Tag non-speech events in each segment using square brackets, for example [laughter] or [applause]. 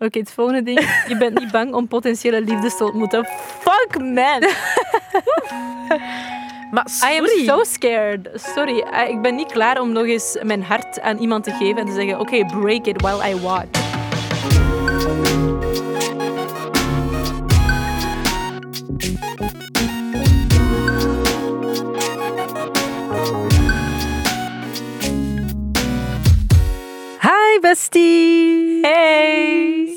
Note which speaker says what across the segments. Speaker 1: Oké, het volgende ding. Je bent niet bang om potentiële liefdes te ontmoeten. Fuck, man.
Speaker 2: Maar
Speaker 1: I am
Speaker 2: sorry.
Speaker 1: so scared. Sorry, I- ik ben niet klaar om nog eens mijn hart aan iemand te geven en te zeggen: Oké, break it while I watch.
Speaker 2: Hi bestie.
Speaker 1: Hey!
Speaker 2: [laughs]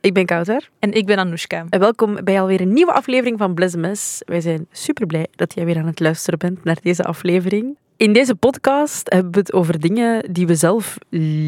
Speaker 2: Ik ben Kouter
Speaker 1: En ik ben Anoushka.
Speaker 2: en welkom bij alweer een nieuwe aflevering van Blesmes. Wij zijn super blij dat jij weer aan het luisteren bent naar deze aflevering. In deze podcast hebben we het over dingen die we zelf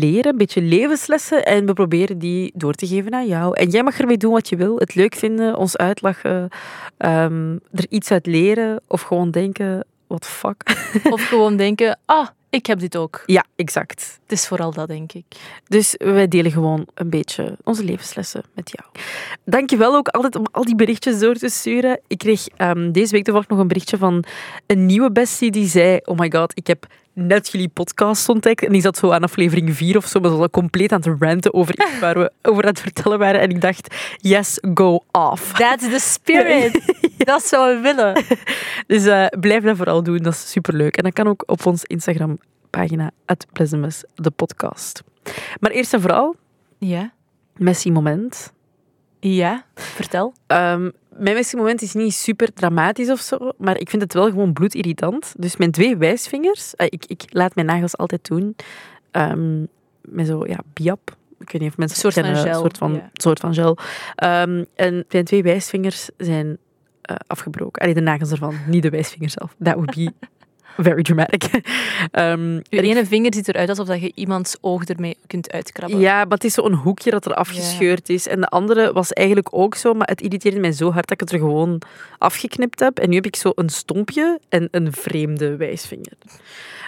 Speaker 2: leren, een beetje levenslessen en we proberen die door te geven aan jou. En jij mag ermee doen wat je wil, het leuk vinden, ons uitlachen, ehm, er iets uit leren of gewoon denken, what the fuck. [laughs]
Speaker 1: Of gewoon denken: Ah, ik heb dit ook.
Speaker 2: Ja, exact.
Speaker 1: Het is vooral dat, denk ik.
Speaker 2: Dus wij delen gewoon een beetje onze levenslessen met jou. Dankjewel ook altijd om al die berichtjes door te sturen. Ik kreeg ehm, deze week toevallig nog een berichtje van een nieuwe bestie die zei... Oh my god, ik heb net jullie podcast ontdekt. En die zat zo aan aflevering 4 of zo, maar ze was al compleet aan het ranten over iets waar we over aan het vertellen waren. En ik dacht, yes, go off.
Speaker 1: That's the [laughs] spirit. Dat is wat we willen.
Speaker 2: Dus eh, blijf dat vooral doen, dat is superleuk. En dat kan ook op ons Instagram-pagina, at de podcast. Maar eerst en vooral,
Speaker 1: Ja,
Speaker 2: messy moment...
Speaker 1: ja. Vertel.
Speaker 2: Ehm, mijn beste moment is niet super dramatisch of zo, maar ik vind het wel gewoon bloedirritant. Dus mijn twee wijsvingers, eh, ik, ik laat mijn nagels altijd doen ehm, met zo, ja, biap. Ik weet niet of mensen
Speaker 1: Een soort
Speaker 2: het kennen,
Speaker 1: van gel,
Speaker 2: een soort van,
Speaker 1: ja.
Speaker 2: soort van gel. Ehm, en mijn twee wijsvingers zijn eh, afgebroken. Allee, de nagels ervan, niet de wijsvinger zelf. That would
Speaker 1: [laughs]
Speaker 2: be very dramatic. [laughs] Ehm,
Speaker 1: Je
Speaker 2: en ik
Speaker 1: ene vinger ziet eruit alsof dat je iemands oog ermee kunt uitkrabben.
Speaker 2: ja, maar het is zo'n hoekje dat er afgescheurd is. En de andere was eigenlijk ook zo, maar het irriteerde mij zo hard dat ik het er gewoon afgeknipt heb. En nu heb ik zo een stompje en een vreemde wijsvinger.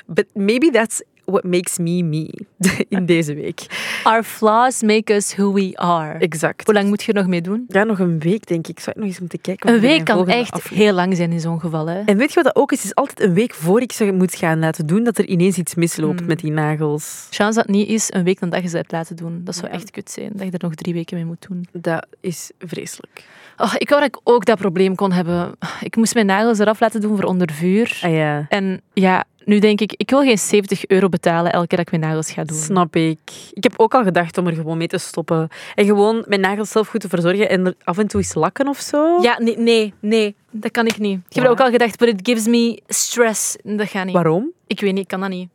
Speaker 2: But maybe that's what makes me me [laughs] in deze week.
Speaker 1: Our flaws make us who we are.
Speaker 2: Exact.
Speaker 1: Hoe lang moet je er nog mee doen?
Speaker 2: Ja, nog een week, denk ik. Zou ik nog eens moeten kijken.
Speaker 1: Een
Speaker 2: wat er
Speaker 1: week
Speaker 2: bij mijn
Speaker 1: kan
Speaker 2: volgende
Speaker 1: echt
Speaker 2: aflevering-
Speaker 1: heel lang zijn in zo'n geval. Hè?
Speaker 2: En weet je wat dat ook is? Het is altijd een week voor ik ze moet gaan laten doen, dat er ineens iets misloopt
Speaker 1: Hmm.
Speaker 2: met die nagels.
Speaker 1: Chance dat het niet is een week dan dat je ze hebt laten doen. Dat zou
Speaker 2: Ja.
Speaker 1: echt kut zijn, dat je er nog drie weken mee moet doen.
Speaker 2: Dat is vreselijk.
Speaker 1: Oh, ik wou dat ik ook dat probleem kon hebben. Ik moest mijn nagels eraf laten doen voor onder vuur.
Speaker 2: Ah ja,
Speaker 1: En ja, nu denk ik, ik wil geen 70 euro betalen elke keer dat ik mijn nagels ga doen.
Speaker 2: Snap ik. Ik heb ook al gedacht om er gewoon mee te stoppen. En gewoon mijn nagels zelf goed te verzorgen en er af en toe eens lakken of zo.
Speaker 1: Ja, nee, nee, nee, dat kan ik niet. Ik heb
Speaker 2: Ja.
Speaker 1: ook al gedacht, but it gives me stress. Dat gaat niet.
Speaker 2: Waarom?
Speaker 1: Ik weet niet, ik kan dat niet.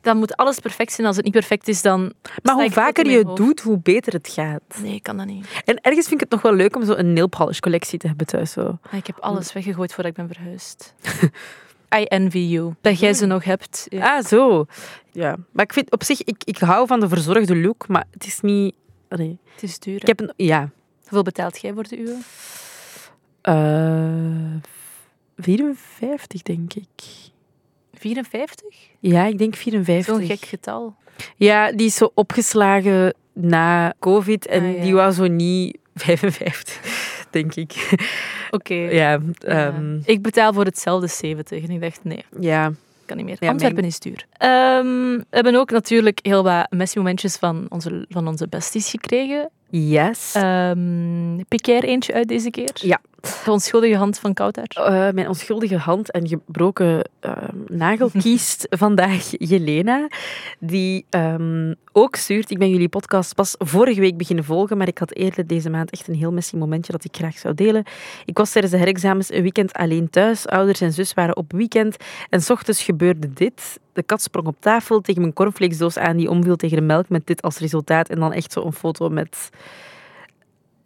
Speaker 1: Dan moet alles perfect zijn. Als het niet perfect is, dan... sta
Speaker 2: Maar hoe
Speaker 1: ik tot
Speaker 2: vaker
Speaker 1: in
Speaker 2: je
Speaker 1: mijn
Speaker 2: het
Speaker 1: hoofd.
Speaker 2: doet, hoe beter het gaat.
Speaker 1: Nee, ik kan dat niet.
Speaker 2: En ergens vind ik het nog wel leuk om zo een nail polish collectie te hebben thuis. Zo.
Speaker 1: Ah, ik heb alles weggegooid voordat ik ben verhuisd. [laughs] I envy you. Dat jij ze nog hebt. Ja.
Speaker 2: Ah, zo. Ja. Maar ik vind op zich, ik, ik hou van de verzorgde look, maar het is niet... Allee.
Speaker 1: Het is duur.
Speaker 2: Ik heb een... Ja.
Speaker 1: Hoeveel betaalt jij voor de uwe?
Speaker 2: Eh 54, denk ik.
Speaker 1: 54?
Speaker 2: Ja, ik denk 54.
Speaker 1: Zo'n gek getal.
Speaker 2: Ja, die is zo opgeslagen na COVID en
Speaker 1: Ah, ja.
Speaker 2: die was zo niet [laughs] 55, denk ik.
Speaker 1: Oké.
Speaker 2: Ja,
Speaker 1: Ja.
Speaker 2: ehm,
Speaker 1: Ik betaal voor hetzelfde 70. En ik dacht, nee,
Speaker 2: ja.
Speaker 1: kan niet meer.
Speaker 2: Ja,
Speaker 1: Antwerpen
Speaker 2: mijn-
Speaker 1: is duur. Ehm, we hebben ook natuurlijk heel wat messy momentjes van onze, van onze besties gekregen.
Speaker 2: Yes.
Speaker 1: Ehm pik jij er eentje uit deze keer?
Speaker 2: Ja.
Speaker 1: De onschuldige hand van Kouter.
Speaker 2: Eh, mijn onschuldige hand en gebroken ehm, nagel kiest vandaag Jelena, die ehm, ook stuurt. Ik ben jullie podcast pas vorige week beginnen volgen, maar ik had eerder deze maand echt een heel messy momentje dat ik graag zou delen. Ik was tijdens de herexamens een weekend alleen thuis. Ouders en zus waren op weekend en s ochtends gebeurde dit. De kat sprong op tafel tegen mijn cornflakesdoos aan, die omviel tegen de melk met dit als resultaat. En dan echt zo'n foto met...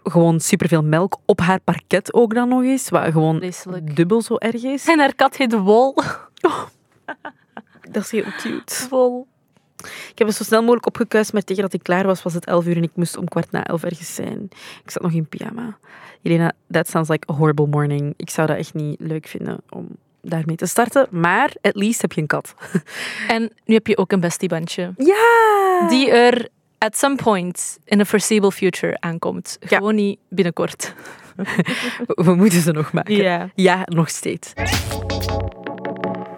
Speaker 2: Gewoon superveel melk op haar parket ook dan nog eens. Wat gewoon
Speaker 1: Vreselijk.
Speaker 2: dubbel zo erg [laughs] is.
Speaker 1: En haar kat heet Wol.
Speaker 2: Dat is heel cute.
Speaker 1: Wol.
Speaker 2: Ik heb het zo snel mogelijk opgekuist, maar tegen dat ik klaar was, was het elf uur en ik moest om kwart na elf ergens zijn. Ik zat nog in pyjama. Jelena, that sounds like a horrible morning. Ik zou dat echt niet leuk vinden om daarmee te starten, maar at least heb je een kat.
Speaker 1: En nu heb je ook een bestiebandje.
Speaker 2: Ja! Die
Speaker 1: Die er at some point in the foreseeable future aankomt.
Speaker 2: Ja.
Speaker 1: Gewoon niet binnenkort.
Speaker 2: we moeten ze nog maken. Ja, nog steeds.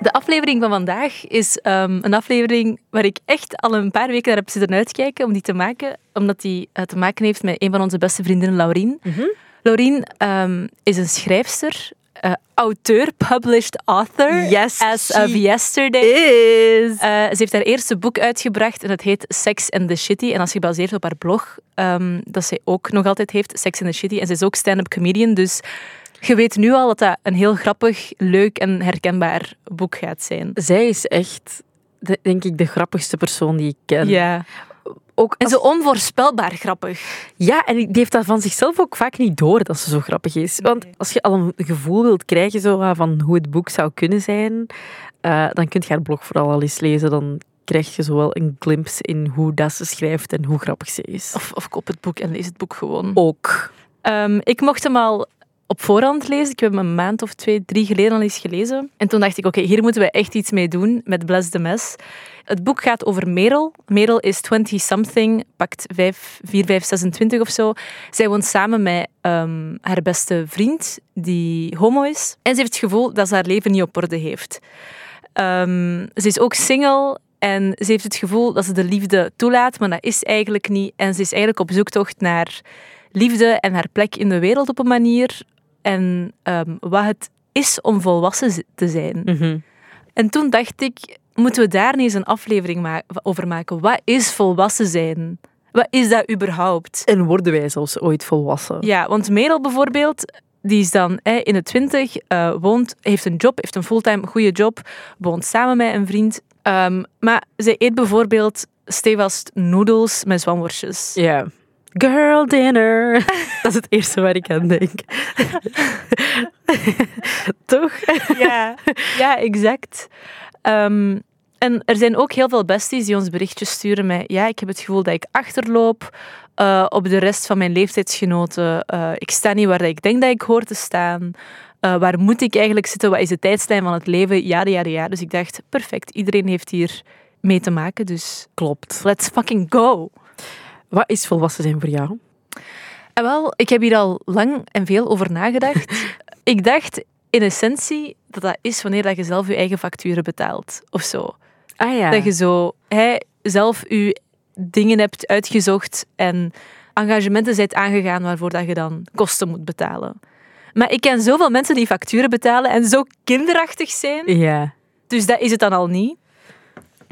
Speaker 1: De aflevering van vandaag is ehm, een aflevering waar ik echt al een paar weken naar heb zitten uitkijken om die te maken. Omdat die eh, te maken heeft met een van onze beste vriendinnen, Laurien.
Speaker 2: Mhm.
Speaker 1: Laurien ehm, is een schrijfster, eh, auteur, published author.
Speaker 2: Yes,
Speaker 1: As of
Speaker 2: she
Speaker 1: yesterday.
Speaker 2: Is.
Speaker 1: Eh, ze heeft haar eerste boek uitgebracht en dat heet Sex and the Shitty. En dat is gebaseerd op haar blog, ehm, dat zij ook nog altijd heeft, Sex and the Shitty. En ze is ook stand-up comedian, dus je weet nu al dat dat een heel grappig, leuk en herkenbaar boek gaat zijn.
Speaker 2: Zij is echt, de- denk ik, de grappigste persoon die ik ken.
Speaker 1: Ja.
Speaker 2: Ook
Speaker 1: En
Speaker 2: als-
Speaker 1: zo onvoorspelbaar grappig.
Speaker 2: ja, en die heeft dat van zichzelf ook vaak niet door, dat ze zo grappig is. Want
Speaker 1: Nee.
Speaker 2: als je al een gevoel wilt krijgen zo, wat van hoe het boek zou kunnen zijn, eh, dan kun je haar blog vooral al eens lezen. Dan krijg je zo wel een glimp in hoe dat ze schrijft en hoe grappig ze is.
Speaker 1: Of, of koop het boek en lees het boek gewoon.
Speaker 2: Ook.
Speaker 1: Ehm, ik mocht hem al op voorhand lezen. Ik heb hem een maand of twee, drie geleden al eens gelezen. En toen dacht ik, oké, hier moeten we echt iets mee doen met Bless the Mess. Het boek gaat over Merel. Merel is 20-something, pakt 5, 4, 5, 26 of zo. Zij woont samen met ehm, haar beste vriend, die homo is. En ze heeft het gevoel dat ze haar leven niet op orde heeft. Ehm, ze is ook single en ze heeft het gevoel dat ze de liefde toelaat, maar dat is eigenlijk niet. En ze is eigenlijk op zoektocht naar liefde en haar plek in de wereld op een manier. En ehm, wat het is om volwassen z- te zijn.
Speaker 2: Mhm.
Speaker 1: En toen dacht ik, moeten we daar niet eens een aflevering ma- over maken? Wat is volwassen zijn? Wat is dat überhaupt?
Speaker 2: En worden wij zelfs ooit volwassen?
Speaker 1: Ja, want Merel bijvoorbeeld, die is dan hè, in de twintig, eh, woont, heeft een job, heeft een fulltime goede job, woont samen met een vriend. Ehm, maar zij eet bijvoorbeeld stevast noedels met zwanworstjes.
Speaker 2: Ja. Girl dinner. [laughs] Dat is het eerste waar ik aan denk. Toch?
Speaker 1: [laughs] Ja, ja exact. Ehm, en er zijn ook heel veel besties die ons berichtjes sturen met ja, ik heb het gevoel dat ik achterloop eh, op de rest van mijn leeftijdsgenoten. Eh, ik sta niet waar dat ik denk dat ik hoor te staan. Eh, waar moet ik eigenlijk zitten? Wat is de tijdslijn van het leven? Ja, ja, ja. Dus ik dacht, perfect, iedereen heeft hier mee te maken, dus
Speaker 2: Klopt.
Speaker 1: let's fucking go.
Speaker 2: Wat is volwassen zijn voor jou?
Speaker 1: En wel, ik heb hier al lang en veel over nagedacht. [laughs] ik dacht in essentie dat dat is wanneer dat je zelf je eigen facturen betaalt of zo.
Speaker 2: Ah ja.
Speaker 1: Dat je zo hè, zelf je dingen hebt uitgezocht en engagementen bent aangegaan waarvoor dat je dan kosten moet betalen. Maar ik ken zoveel mensen die facturen betalen en zo kinderachtig zijn.
Speaker 2: Ja.
Speaker 1: Dus dat is het dan al niet.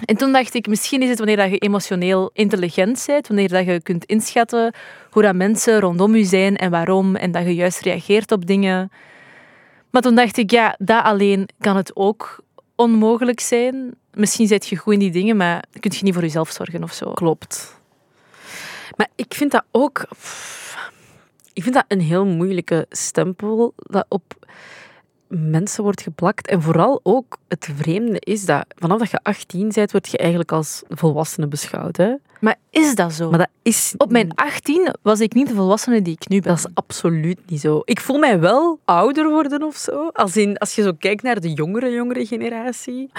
Speaker 1: En toen dacht ik, misschien is het wanneer dat je emotioneel intelligent bent, wanneer dat je kunt inschatten hoe dat mensen rondom je zijn en waarom, en dat je juist reageert op dingen. Maar toen dacht ik, ja, dat alleen kan het ook onmogelijk zijn. Misschien zit je goed in die dingen, maar kun je niet voor jezelf zorgen of zo.
Speaker 2: Klopt. Maar ik vind dat ook... pff, Ik vind dat een heel moeilijke stempel dat op mensen wordt geplakt. En vooral ook het vreemde is dat vanaf dat je 18 bent, word je eigenlijk als volwassene beschouwd. Hè?
Speaker 1: Maar is dat zo?
Speaker 2: Maar dat is
Speaker 1: Op mijn 18 was ik niet de volwassene die ik nu ben.
Speaker 2: Dat is absoluut niet zo. Ik voel mij wel ouder worden of zo. Als, in, als je zo kijkt naar de jongere, jongere generatie.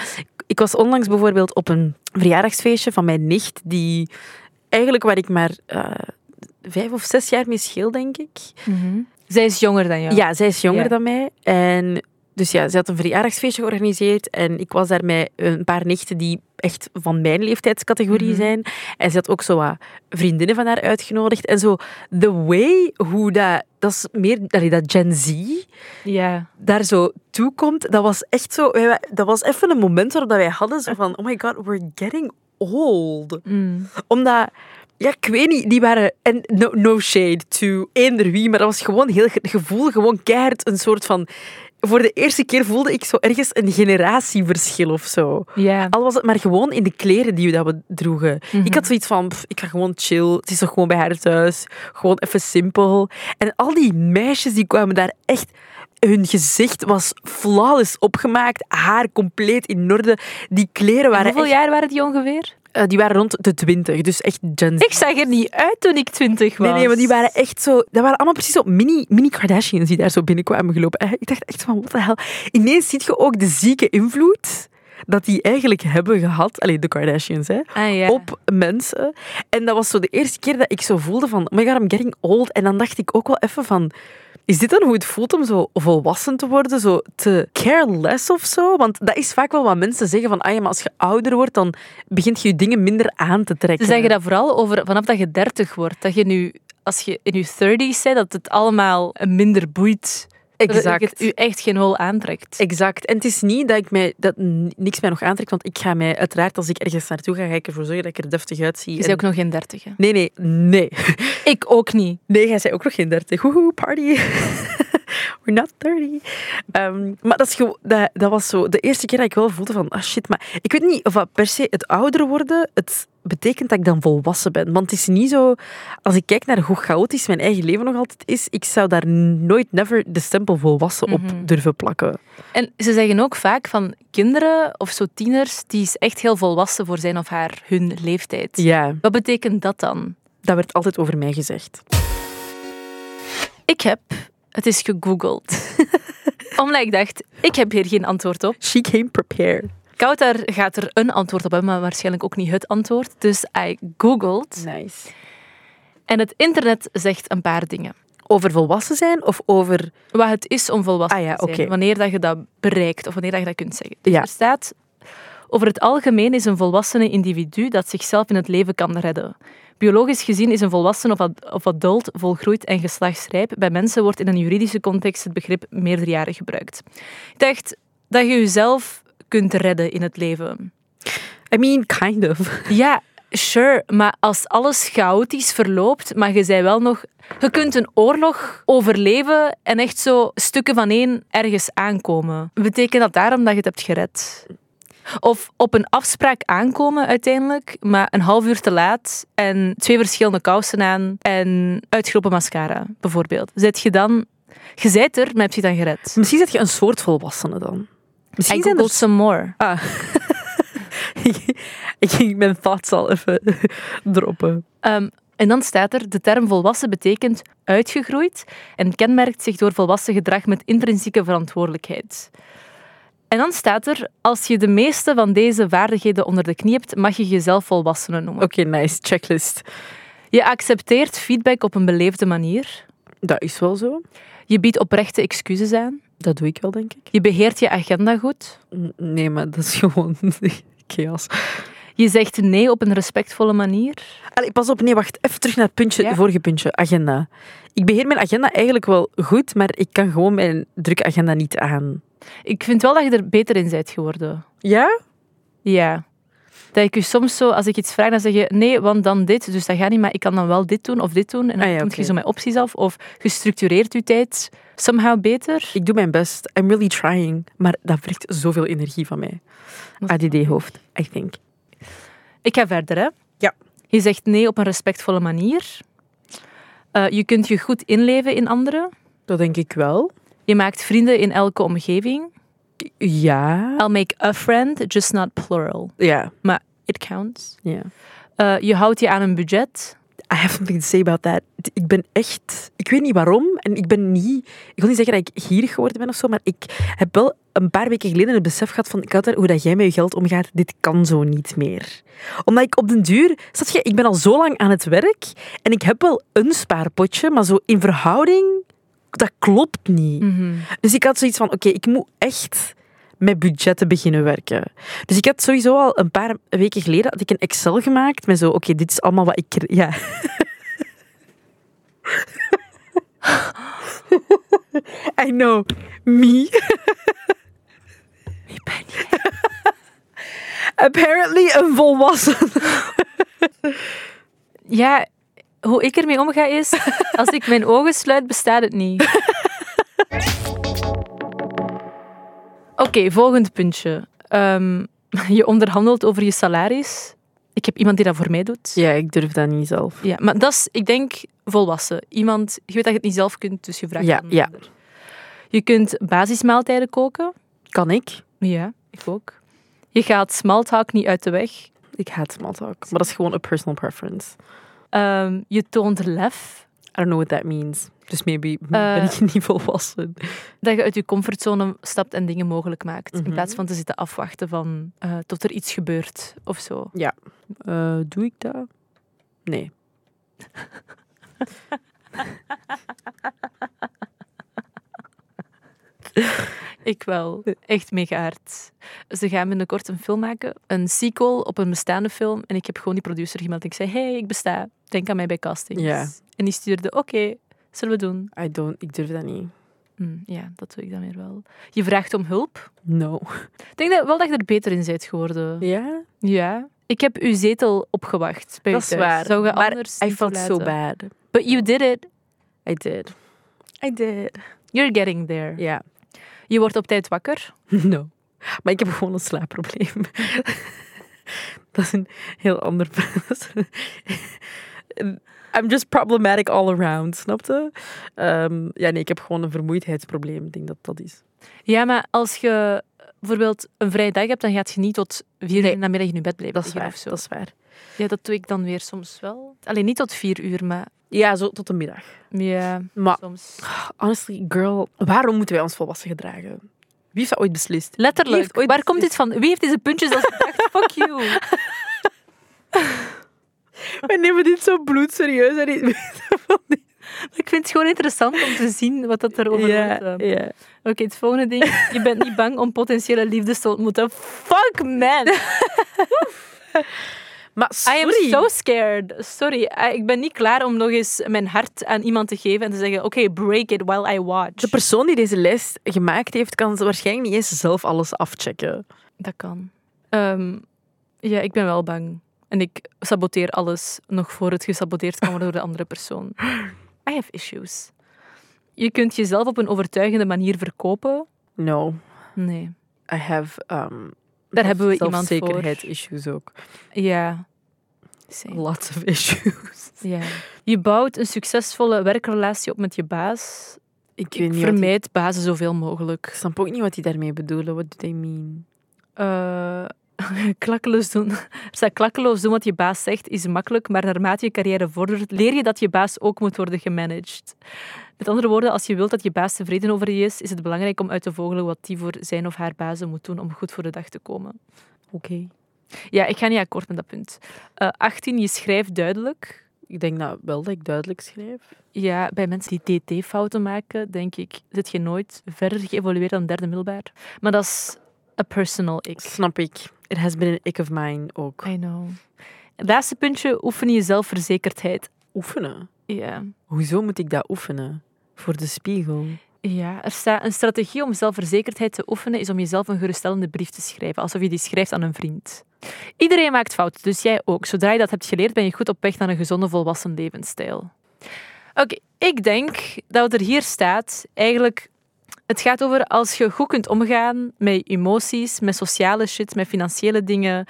Speaker 2: Ik was onlangs bijvoorbeeld op een verjaardagsfeestje van mijn nicht, die eigenlijk waar ik maar eh, vijf of zes jaar mee scheel, denk ik.
Speaker 1: Zij is jonger dan jou.
Speaker 2: Ja, zij is jonger
Speaker 1: Ja.
Speaker 2: dan mij. En dus ja, ze had een verjaardagsfeestje georganiseerd. En ik was daar met een paar nichten die echt van mijn leeftijdscategorie
Speaker 1: Mhm.
Speaker 2: zijn. En ze had ook zo wat vriendinnen van haar uitgenodigd. En zo, the way hoe dat, dat is meer allee, dat Gen Z
Speaker 1: ja.
Speaker 2: daar zo toe komt, dat was echt zo, wij- wij- dat was even een moment waarop dat wij hadden zo van, oh my god, we're getting old
Speaker 1: Mm.
Speaker 2: omdat, ja, ik weet niet, die waren, en no, no shade to eender wie, maar dat was gewoon heel ge- het gevoel, gewoon keihard een soort van, voor de eerste keer voelde ik zo ergens een generatieverschil of zo.
Speaker 1: Ja.
Speaker 2: Al was het maar gewoon in de kleren die we, dat we droegen. Ik had zoiets van, pff, ik ga gewoon chill, het is toch gewoon bij haar thuis, gewoon even simpel. En al die meisjes die kwamen daar echt, hun gezicht was flawless opgemaakt, haar compleet in orde, die kleren waren
Speaker 1: Hoeveel
Speaker 2: echt-
Speaker 1: jaar waren die ongeveer?
Speaker 2: eh, die waren rond de twintig, dus echt Gen Z.
Speaker 1: Ik zag er niet uit toen ik twintig was.
Speaker 2: Nee, nee, want die waren echt zo... Dat waren allemaal precies zo mini, mini Kardashians die daar zo binnenkwamen gelopen. Eh, Ik dacht echt van, wat de hel. Ineens zie je ook de zieke invloed dat die eigenlijk hebben gehad, alleen de Kardashians, hè,
Speaker 1: Ah, ja.
Speaker 2: op mensen. En dat was zo de eerste keer dat ik zo voelde van, oh my god, I'm getting old. En dan dacht ik ook wel even van, is dit dan hoe het voelt om zo volwassen te worden? Zo te careless of zo? Want dat is vaak wel wat mensen zeggen van, ah ja, maar als je ouder wordt, dan begint je je dingen minder aan te trekken.
Speaker 1: Ze zeggen dat vooral over vanaf dat je 30 wordt. Dat je nu, als je in je 30s bent, dat het allemaal minder boeit. Dat
Speaker 2: Exact.
Speaker 1: het u echt geen hol aantrekt.
Speaker 2: Exact. En het is niet dat, ik mij, dat n- niks mij nog aantrekt, want ik ga mij uiteraard als ik ergens naartoe ga, ga ik ervoor zorgen dat ik er deftig uitzie.
Speaker 1: je bent
Speaker 2: En-
Speaker 1: ook nog geen 30. Hè?
Speaker 2: Nee, nee, nee. [laughs]
Speaker 1: Ik ook niet.
Speaker 2: Nee, jij zei ook nog geen 30. Woehoe, party. [laughs] We're not 30. Ehm, maar dat, is gewo- dat, dat was zo de eerste keer dat ik wel voelde van, ah shit, maar ik weet niet of dat per se het ouder worden, het betekent dat ik dan volwassen ben. Want het is niet zo, als ik kijk naar hoe chaotisch mijn eigen leven nog altijd is, ik zou daar nooit, never de stempel volwassen op
Speaker 1: Mhm.
Speaker 2: durven plakken.
Speaker 1: En ze zeggen ook vaak van kinderen of zo tieners, die is echt heel volwassen voor zijn of haar hun leeftijd.
Speaker 2: Ja,
Speaker 1: Wat betekent dat dan?
Speaker 2: dat werd altijd over mij gezegd.
Speaker 1: Ik heb, het is
Speaker 2: [laughs]
Speaker 1: gegoogeld. Omdat ik dacht, ik heb hier geen antwoord op.
Speaker 2: She came prepared.
Speaker 1: Kouter gaat er een antwoord op hebben, maar waarschijnlijk ook niet het antwoord. Dus I googled.
Speaker 2: Nice.
Speaker 1: En het internet zegt een paar dingen.
Speaker 2: Over volwassen zijn of over
Speaker 1: Wat het is om volwassen
Speaker 2: Ah ja,
Speaker 1: te zijn.
Speaker 2: oké.
Speaker 1: Wanneer dat je dat bereikt of wanneer dat je dat kunt zeggen. Dus
Speaker 2: Ja.
Speaker 1: er staat... Over het algemeen is een volwassene individu dat zichzelf in het leven kan redden. Biologisch gezien is een volwassen of, ad- of adult volgroeid en geslachtsrijp. Bij mensen wordt in een juridische context het begrip meerderjarig gebruikt. Ik dacht dat je jezelf kunt redden in het leven.
Speaker 2: I mean, kind of. [laughs]
Speaker 1: Ja, sure. Maar als alles chaotisch verloopt, maar je zei wel nog... Je kunt een oorlog overleven en echt zo stukken van één ergens aankomen. Betekent dat daarom dat je het hebt gered? Of op een afspraak aankomen uiteindelijk, maar een half uur te laat en twee verschillende kousen aan en uitgeroepen mascara, bijvoorbeeld. Zet je dan... Je zijt er, maar heb je dan gered?
Speaker 2: Misschien zit je een soort volwassene dan.
Speaker 1: I
Speaker 2: Misschien zijn
Speaker 1: googled
Speaker 2: er...
Speaker 1: some more.
Speaker 2: Ah. ik, [laughs] ik ging mijn thoughts al even [laughs] droppen.
Speaker 1: Ehm, en dan staat er, de term volwassen betekent uitgegroeid en kenmerkt zich door volwassen gedrag met intrinsieke verantwoordelijkheid. En dan staat er, als je de meeste van deze vaardigheden onder de knie hebt, mag je jezelf volwassenen noemen.
Speaker 2: Oké, nice. Checklist.
Speaker 1: Je accepteert feedback op een beleefde manier.
Speaker 2: Dat is wel zo.
Speaker 1: Je biedt oprechte excuses aan.
Speaker 2: Dat doe ik wel, denk ik.
Speaker 1: Je beheert je agenda goed.
Speaker 2: N- Nee, maar dat is gewoon [laughs] chaos.
Speaker 1: Je zegt nee op een respectvolle manier.
Speaker 2: Allee, pas op. Nee, wacht. Even terug naar het puntje,
Speaker 1: Ja.
Speaker 2: het vorige puntje. Agenda. Ik beheer mijn agenda eigenlijk wel goed, maar ik kan gewoon mijn drukke agenda niet aan.
Speaker 1: Ik vind wel dat je er beter in bent geworden.
Speaker 2: Ja?
Speaker 1: Ja. Dat ik u soms zo, als ik iets vraag, dan zeg je nee, want dan dit. Dus dat gaat niet, maar ik kan dan wel dit doen of dit doen. En dan
Speaker 2: Ah ja,
Speaker 1: komt
Speaker 2: oké.
Speaker 1: je zo mijn opties af. Of gestructureerd uw tijd somehow beter.
Speaker 2: Ik doe mijn best. I'm really trying. Maar dat vergt zoveel energie van mij. ADD-hoofd, I think.
Speaker 1: Ik ga verder, hè.
Speaker 2: Ja.
Speaker 1: Je zegt nee op een respectvolle manier. Eh, je kunt je goed inleven in anderen.
Speaker 2: Dat denk ik wel.
Speaker 1: Je maakt vrienden in elke omgeving.
Speaker 2: Ja.
Speaker 1: I'll make a friend, just not plural.
Speaker 2: Ja.
Speaker 1: Maar it counts.
Speaker 2: ja.
Speaker 1: Eh, je houdt je aan een budget.
Speaker 2: I have something to say about that. Ik ben echt... Ik weet niet waarom. En ik ben niet... Ik wil niet zeggen dat ik gierig geworden ben of zo, maar ik heb wel een paar weken geleden het besef gehad van... Kouter, hoe dat jij met je geld omgaat, dit kan zo niet meer. Omdat ik op den duur... Zat je, ik ben al zo lang aan het werk en ik heb wel een spaarpotje, maar zo in verhouding... Dat klopt niet. Dus ik had zoiets van, oké, ik moet echt met budgetten beginnen werken. Dus ik had sowieso al een paar weken geleden had ik een Excel gemaakt met zo, oké, dit is allemaal wat ik... Ja. [laughs] I know, [laughs] me. Apparently een volwassen.
Speaker 1: Ja, hoe ik ermee omga
Speaker 2: [laughs]
Speaker 1: is, als ik mijn ogen sluit, bestaat het niet. Oké, volgend puntje. Ehm, je onderhandelt over je salaris. Ik heb iemand die dat voor mij doet.
Speaker 2: Ja, ik durf dat niet zelf.
Speaker 1: Ja, maar dat is, ik denk, volwassen. Iemand, je weet dat je het niet zelf kunt, dus je vraagt
Speaker 2: Ja,
Speaker 1: aan een
Speaker 2: ja.
Speaker 1: ander. Je kunt basismaaltijden koken.
Speaker 2: Kan ik?
Speaker 1: Ja, ik ook. Je gaat smalltalk niet uit de weg.
Speaker 2: Ik haat smalltalk. Maar dat is gewoon een personal preference.
Speaker 1: Ehm, je toont lef.
Speaker 2: I don't know what that means. Dus maybe ben
Speaker 1: Eh,
Speaker 2: ik niet [laughs] volwassen.
Speaker 1: dat je uit je comfortzone stapt en dingen mogelijk maakt.
Speaker 2: Mhm.
Speaker 1: In plaats van te zitten afwachten van eh, tot er iets gebeurt of zo.
Speaker 2: Eh, doe ik dat? Nee.
Speaker 1: Ik wel. Echt mega hard. Ze gaan binnenkort een film maken, een sequel op een bestaande film. En ik heb gewoon die producer gemeld. Ik zei, hey, ik besta. Denk aan mij bij castings.
Speaker 2: Ja.
Speaker 1: En die stuurde, oké, zullen we doen.
Speaker 2: I don't, ik durf dat niet.
Speaker 1: Hm, ja, dat doe ik dan weer wel. Je vraagt om hulp.
Speaker 2: No.
Speaker 1: Ik denk dat, wel dat je er beter in bent geworden.
Speaker 2: Ja?
Speaker 1: Ja. Ik heb uw zetel opgewacht. bij
Speaker 2: Dat
Speaker 1: u
Speaker 2: is
Speaker 1: thuis.
Speaker 2: waar.
Speaker 1: Zou je
Speaker 2: Maar
Speaker 1: anders
Speaker 2: I
Speaker 1: niet
Speaker 2: felt so
Speaker 1: toelaten.
Speaker 2: bad.
Speaker 1: But you did it.
Speaker 2: I did. I did.
Speaker 1: You're getting there.
Speaker 2: Ja.
Speaker 1: Je wordt op tijd wakker.
Speaker 2: [laughs] No. Maar ik heb gewoon een slaapprobleem. [laughs] dat is een heel ander... [laughs] I'm just problematic all around, snapte? Ehm ja, nee, ik heb gewoon een vermoeidheidsprobleem. Ik denk dat dat is.
Speaker 1: Ja, maar als je eh, bijvoorbeeld een vrije dag hebt, dan gaat je niet tot vier uur
Speaker 2: Nee.
Speaker 1: in de middag in je bed blijven
Speaker 2: Dat is
Speaker 1: liggen
Speaker 2: waar.
Speaker 1: of zo.
Speaker 2: Dat is waar.
Speaker 1: Ja, dat doe ik dan weer soms wel. Alleen niet tot vier uur, maar
Speaker 2: Ja, zo tot de middag.
Speaker 1: ja,
Speaker 2: Maar
Speaker 1: soms.
Speaker 2: honestly, girl, waarom moeten wij ons volwassen gedragen? Wie heeft dat ooit beslist? Wie
Speaker 1: Letterlijk.
Speaker 2: heeft ooit
Speaker 1: Waar komt dit
Speaker 2: beslist-
Speaker 1: van? Wie heeft deze puntjes als gedacht? Fuck you.
Speaker 2: [laughs] Wij nemen dit zo bloedserieus. En niet
Speaker 1: [laughs] Ik vind het gewoon interessant om te zien wat dat erover wordt. eh.
Speaker 2: [laughs] ja, ja.
Speaker 1: Oké, het volgende ding. Je bent niet bang om potentiële liefdes te ontmoeten. Fuck man.
Speaker 2: Maar
Speaker 1: I am
Speaker 2: sorry.
Speaker 1: so scared. Sorry, I- ik ben niet klaar om nog eens mijn hart aan iemand te geven en te zeggen: Oké, break it while I watch.
Speaker 2: De persoon die deze lijst gemaakt heeft, kan ze waarschijnlijk niet eens zelf alles afchecken.
Speaker 1: Dat kan. Ehm, ja, ik ben wel bang. En ik saboteer alles nog voor het gesaboteerd kan worden door de andere persoon. I have issues. Je kunt jezelf op een overtuigende manier verkopen.
Speaker 2: No,
Speaker 1: Nee.
Speaker 2: I have... Um,
Speaker 1: Daar hebben we iemand voor.
Speaker 2: issues ook.
Speaker 1: Ja. Same.
Speaker 2: [laughs] Lots of issues.
Speaker 1: Ja. Je bouwt een succesvolle werkrelatie op met je baas.
Speaker 2: Ik weet
Speaker 1: Ik
Speaker 2: niet wat die-
Speaker 1: vermijd bazen zoveel mogelijk.
Speaker 2: Ik snap ook niet wat die daarmee bedoelen. What do they mean?
Speaker 1: Eh, [laughs] klakkeloos doen. [laughs] Er staat klakkeloos doen wat je baas zegt is makkelijk, maar naarmate je carrière vordert, leer je dat je baas ook moet worden gemanaged. Met andere woorden, als je wilt dat je baas tevreden over je is, is het belangrijk om uit te vogelen wat die voor zijn of haar bazen moet doen om goed voor de dag te komen.
Speaker 2: Oké.
Speaker 1: Ja, ik ga niet akkoord met dat punt. Eh, 18, je schrijft duidelijk.
Speaker 2: Ik denk dat wel dat ik duidelijk schrijf.
Speaker 1: Ja, bij mensen die DT-fouten maken, denk ik, zit je nooit verder geëvolueerd dan derde middelbaar. Maar dat is a personal ik.
Speaker 2: Snap ik. Er has been an ick of mine ook.
Speaker 1: I know. Laatste puntje, oefen je zelfverzekerdheid.
Speaker 2: Oefenen.
Speaker 1: Ja.
Speaker 2: Hoezo moet ik dat oefenen? Voor de spiegel.
Speaker 1: ja, er staat een strategie om zelfverzekerdheid te oefenen is om jezelf een geruststellende brief te schrijven, alsof je die schrijft aan een vriend. Iedereen maakt fouten, dus jij ook. Zodra je dat hebt geleerd, ben je goed op weg naar een gezonde, volwassen levensstijl. Oké, ik denk dat wat er hier staat eigenlijk... Het gaat over als je goed kunt omgaan met emoties, met sociale shit, met financiële dingen,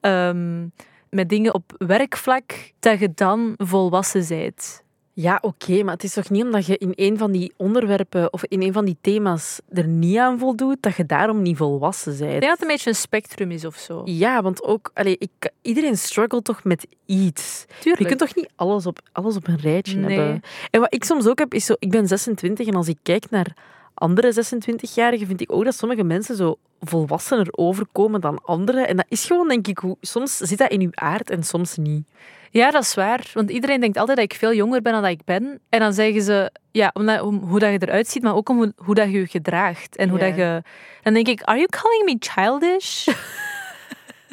Speaker 1: ehm, met dingen op werkvlak, dat je dan volwassen bent.
Speaker 2: Ja, oké, maar het is toch niet omdat je in een van die onderwerpen of in een van die thema's er niet aan voldoet, dat je daarom niet volwassen
Speaker 1: Ik
Speaker 2: bent?
Speaker 1: denk dat het een beetje een spectrum is of zo.
Speaker 2: Ja, want ook, allee, ik, iedereen struggelt toch met iets. Je kunt toch niet alles op, alles op een rijtje
Speaker 1: Nee.
Speaker 2: hebben? En wat ik soms ook heb, is zo, ik ben 26 en als ik kijk naar andere 26-jarigen, vind ik ook dat sommige mensen zo volwassener overkomen dan anderen. En dat is gewoon, denk ik, hoe, soms zit dat in uw aard en soms niet.
Speaker 1: Ja, dat is waar. Want iedereen denkt altijd dat ik veel jonger ben dan dat ik ben. En dan zeggen ze, ja, omdat, om hoe dat je eruit ziet, maar ook om hoe, hoe dat je je gedraagt. En hoe
Speaker 2: Ja.
Speaker 1: dat je... Dan denk ik, are you calling me
Speaker 2: [laughs]
Speaker 1: childish?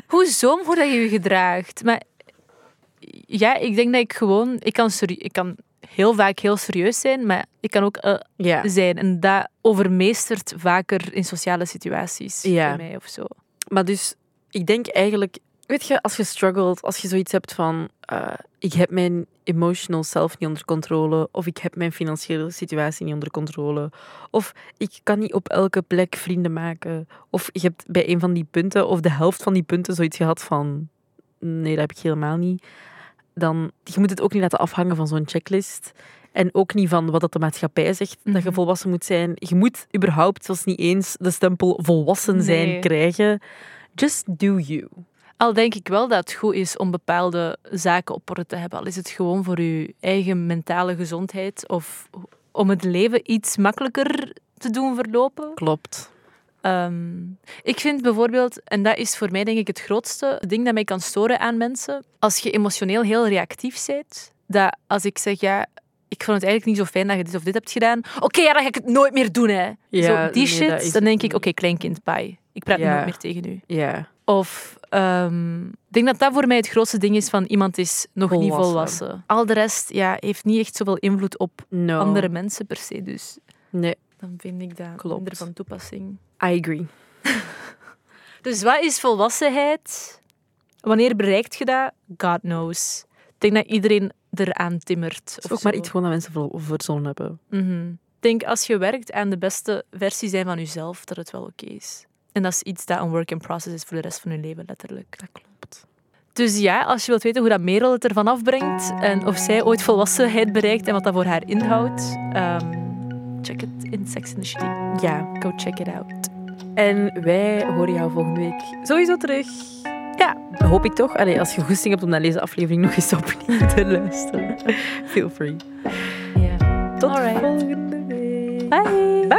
Speaker 1: Hoezo om hoe dat je je gedraagt? Maar ja, ik denk dat ik gewoon... Ik kan, serie- ik kan heel vaak heel serieus zijn, maar ik kan ook eh,
Speaker 2: Ja.
Speaker 1: zijn. En dat overmeestert vaker in sociale situaties
Speaker 2: Ja.
Speaker 1: bij mij of zo.
Speaker 2: Maar dus, ik denk eigenlijk... Weet je, als je struggelt, als je zoiets hebt van... eh, ik heb mijn emotional self niet onder controle. Of ik heb mijn financiële situatie niet onder controle. Of ik kan niet op elke plek vrienden maken. Of je hebt bij een van die punten, of de helft van die punten, zoiets gehad van... Nee, dat heb ik helemaal niet. Dan, je moet het ook niet laten afhangen van zo'n checklist. En ook niet van wat dat de maatschappij zegt, dat je
Speaker 1: Mhm.
Speaker 2: volwassen moet zijn. Je moet überhaupt zelfs niet eens de stempel volwassen zijn
Speaker 1: Nee.
Speaker 2: krijgen. Just do you.
Speaker 1: Al denk ik wel dat het goed is om bepaalde zaken op orde te hebben. Al is het gewoon voor je eigen mentale gezondheid of om het leven iets makkelijker te doen verlopen.
Speaker 2: Klopt.
Speaker 1: Ehm, ik vind bijvoorbeeld, en dat is voor mij denk ik het grootste ding dat mij kan storen aan mensen, als je emotioneel heel reactief bent, dat als ik zeg, ja, ik vond het eigenlijk niet zo fijn dat je dit of dit hebt gedaan, oké, ja, dan ga ik het nooit meer doen, hè.
Speaker 2: Ja,
Speaker 1: zo, die
Speaker 2: nee,
Speaker 1: shit,
Speaker 2: dat is
Speaker 1: dan denk
Speaker 2: het
Speaker 1: ik, oké, kleinkind, bye. Ik praat
Speaker 2: Ja.
Speaker 1: nooit meer tegen u.
Speaker 2: Ja.
Speaker 1: Of, ehm, ik denk dat dat voor mij het grootste ding is van iemand is nog niet
Speaker 2: Volwassen.
Speaker 1: volwassen. Al de rest ja, heeft niet echt zoveel invloed op
Speaker 2: No.
Speaker 1: andere mensen per se, dus
Speaker 2: Nee,
Speaker 1: dan vind ik dat
Speaker 2: Klopt.
Speaker 1: minder van toepassing.
Speaker 2: I agree.
Speaker 1: Dus wat is volwassenheid? Wanneer bereikt je dat? God knows. Ik denk dat iedereen eraan timmert.
Speaker 2: Het
Speaker 1: of
Speaker 2: is ook maar
Speaker 1: zo.
Speaker 2: iets gewoon dat mensen ver- verzonnen hebben.
Speaker 1: Mhm. Ik denk als je werkt aan de beste versie zijn van jezelf, dat het wel oké is. En dat is iets dat een work in process is voor de rest van je leven, letterlijk.
Speaker 2: Dat klopt.
Speaker 1: Dus ja, als je wilt weten hoe dat Merel het ervan afbrengt en of zij ooit volwassenheid bereikt en wat dat voor haar inhoudt, ehm, check het in Sex in the City.
Speaker 2: Ja.
Speaker 1: Go check it out.
Speaker 2: En wij horen jou volgende week sowieso terug.
Speaker 1: Ja.
Speaker 2: Hoop ik toch. Allee, als je goesting hebt om naar deze aflevering nog eens opnieuw [laughs] te luisteren. Feel free.
Speaker 1: Ja.
Speaker 2: Tot
Speaker 1: Alright.
Speaker 2: volgende week.
Speaker 1: Bye.
Speaker 2: Bye.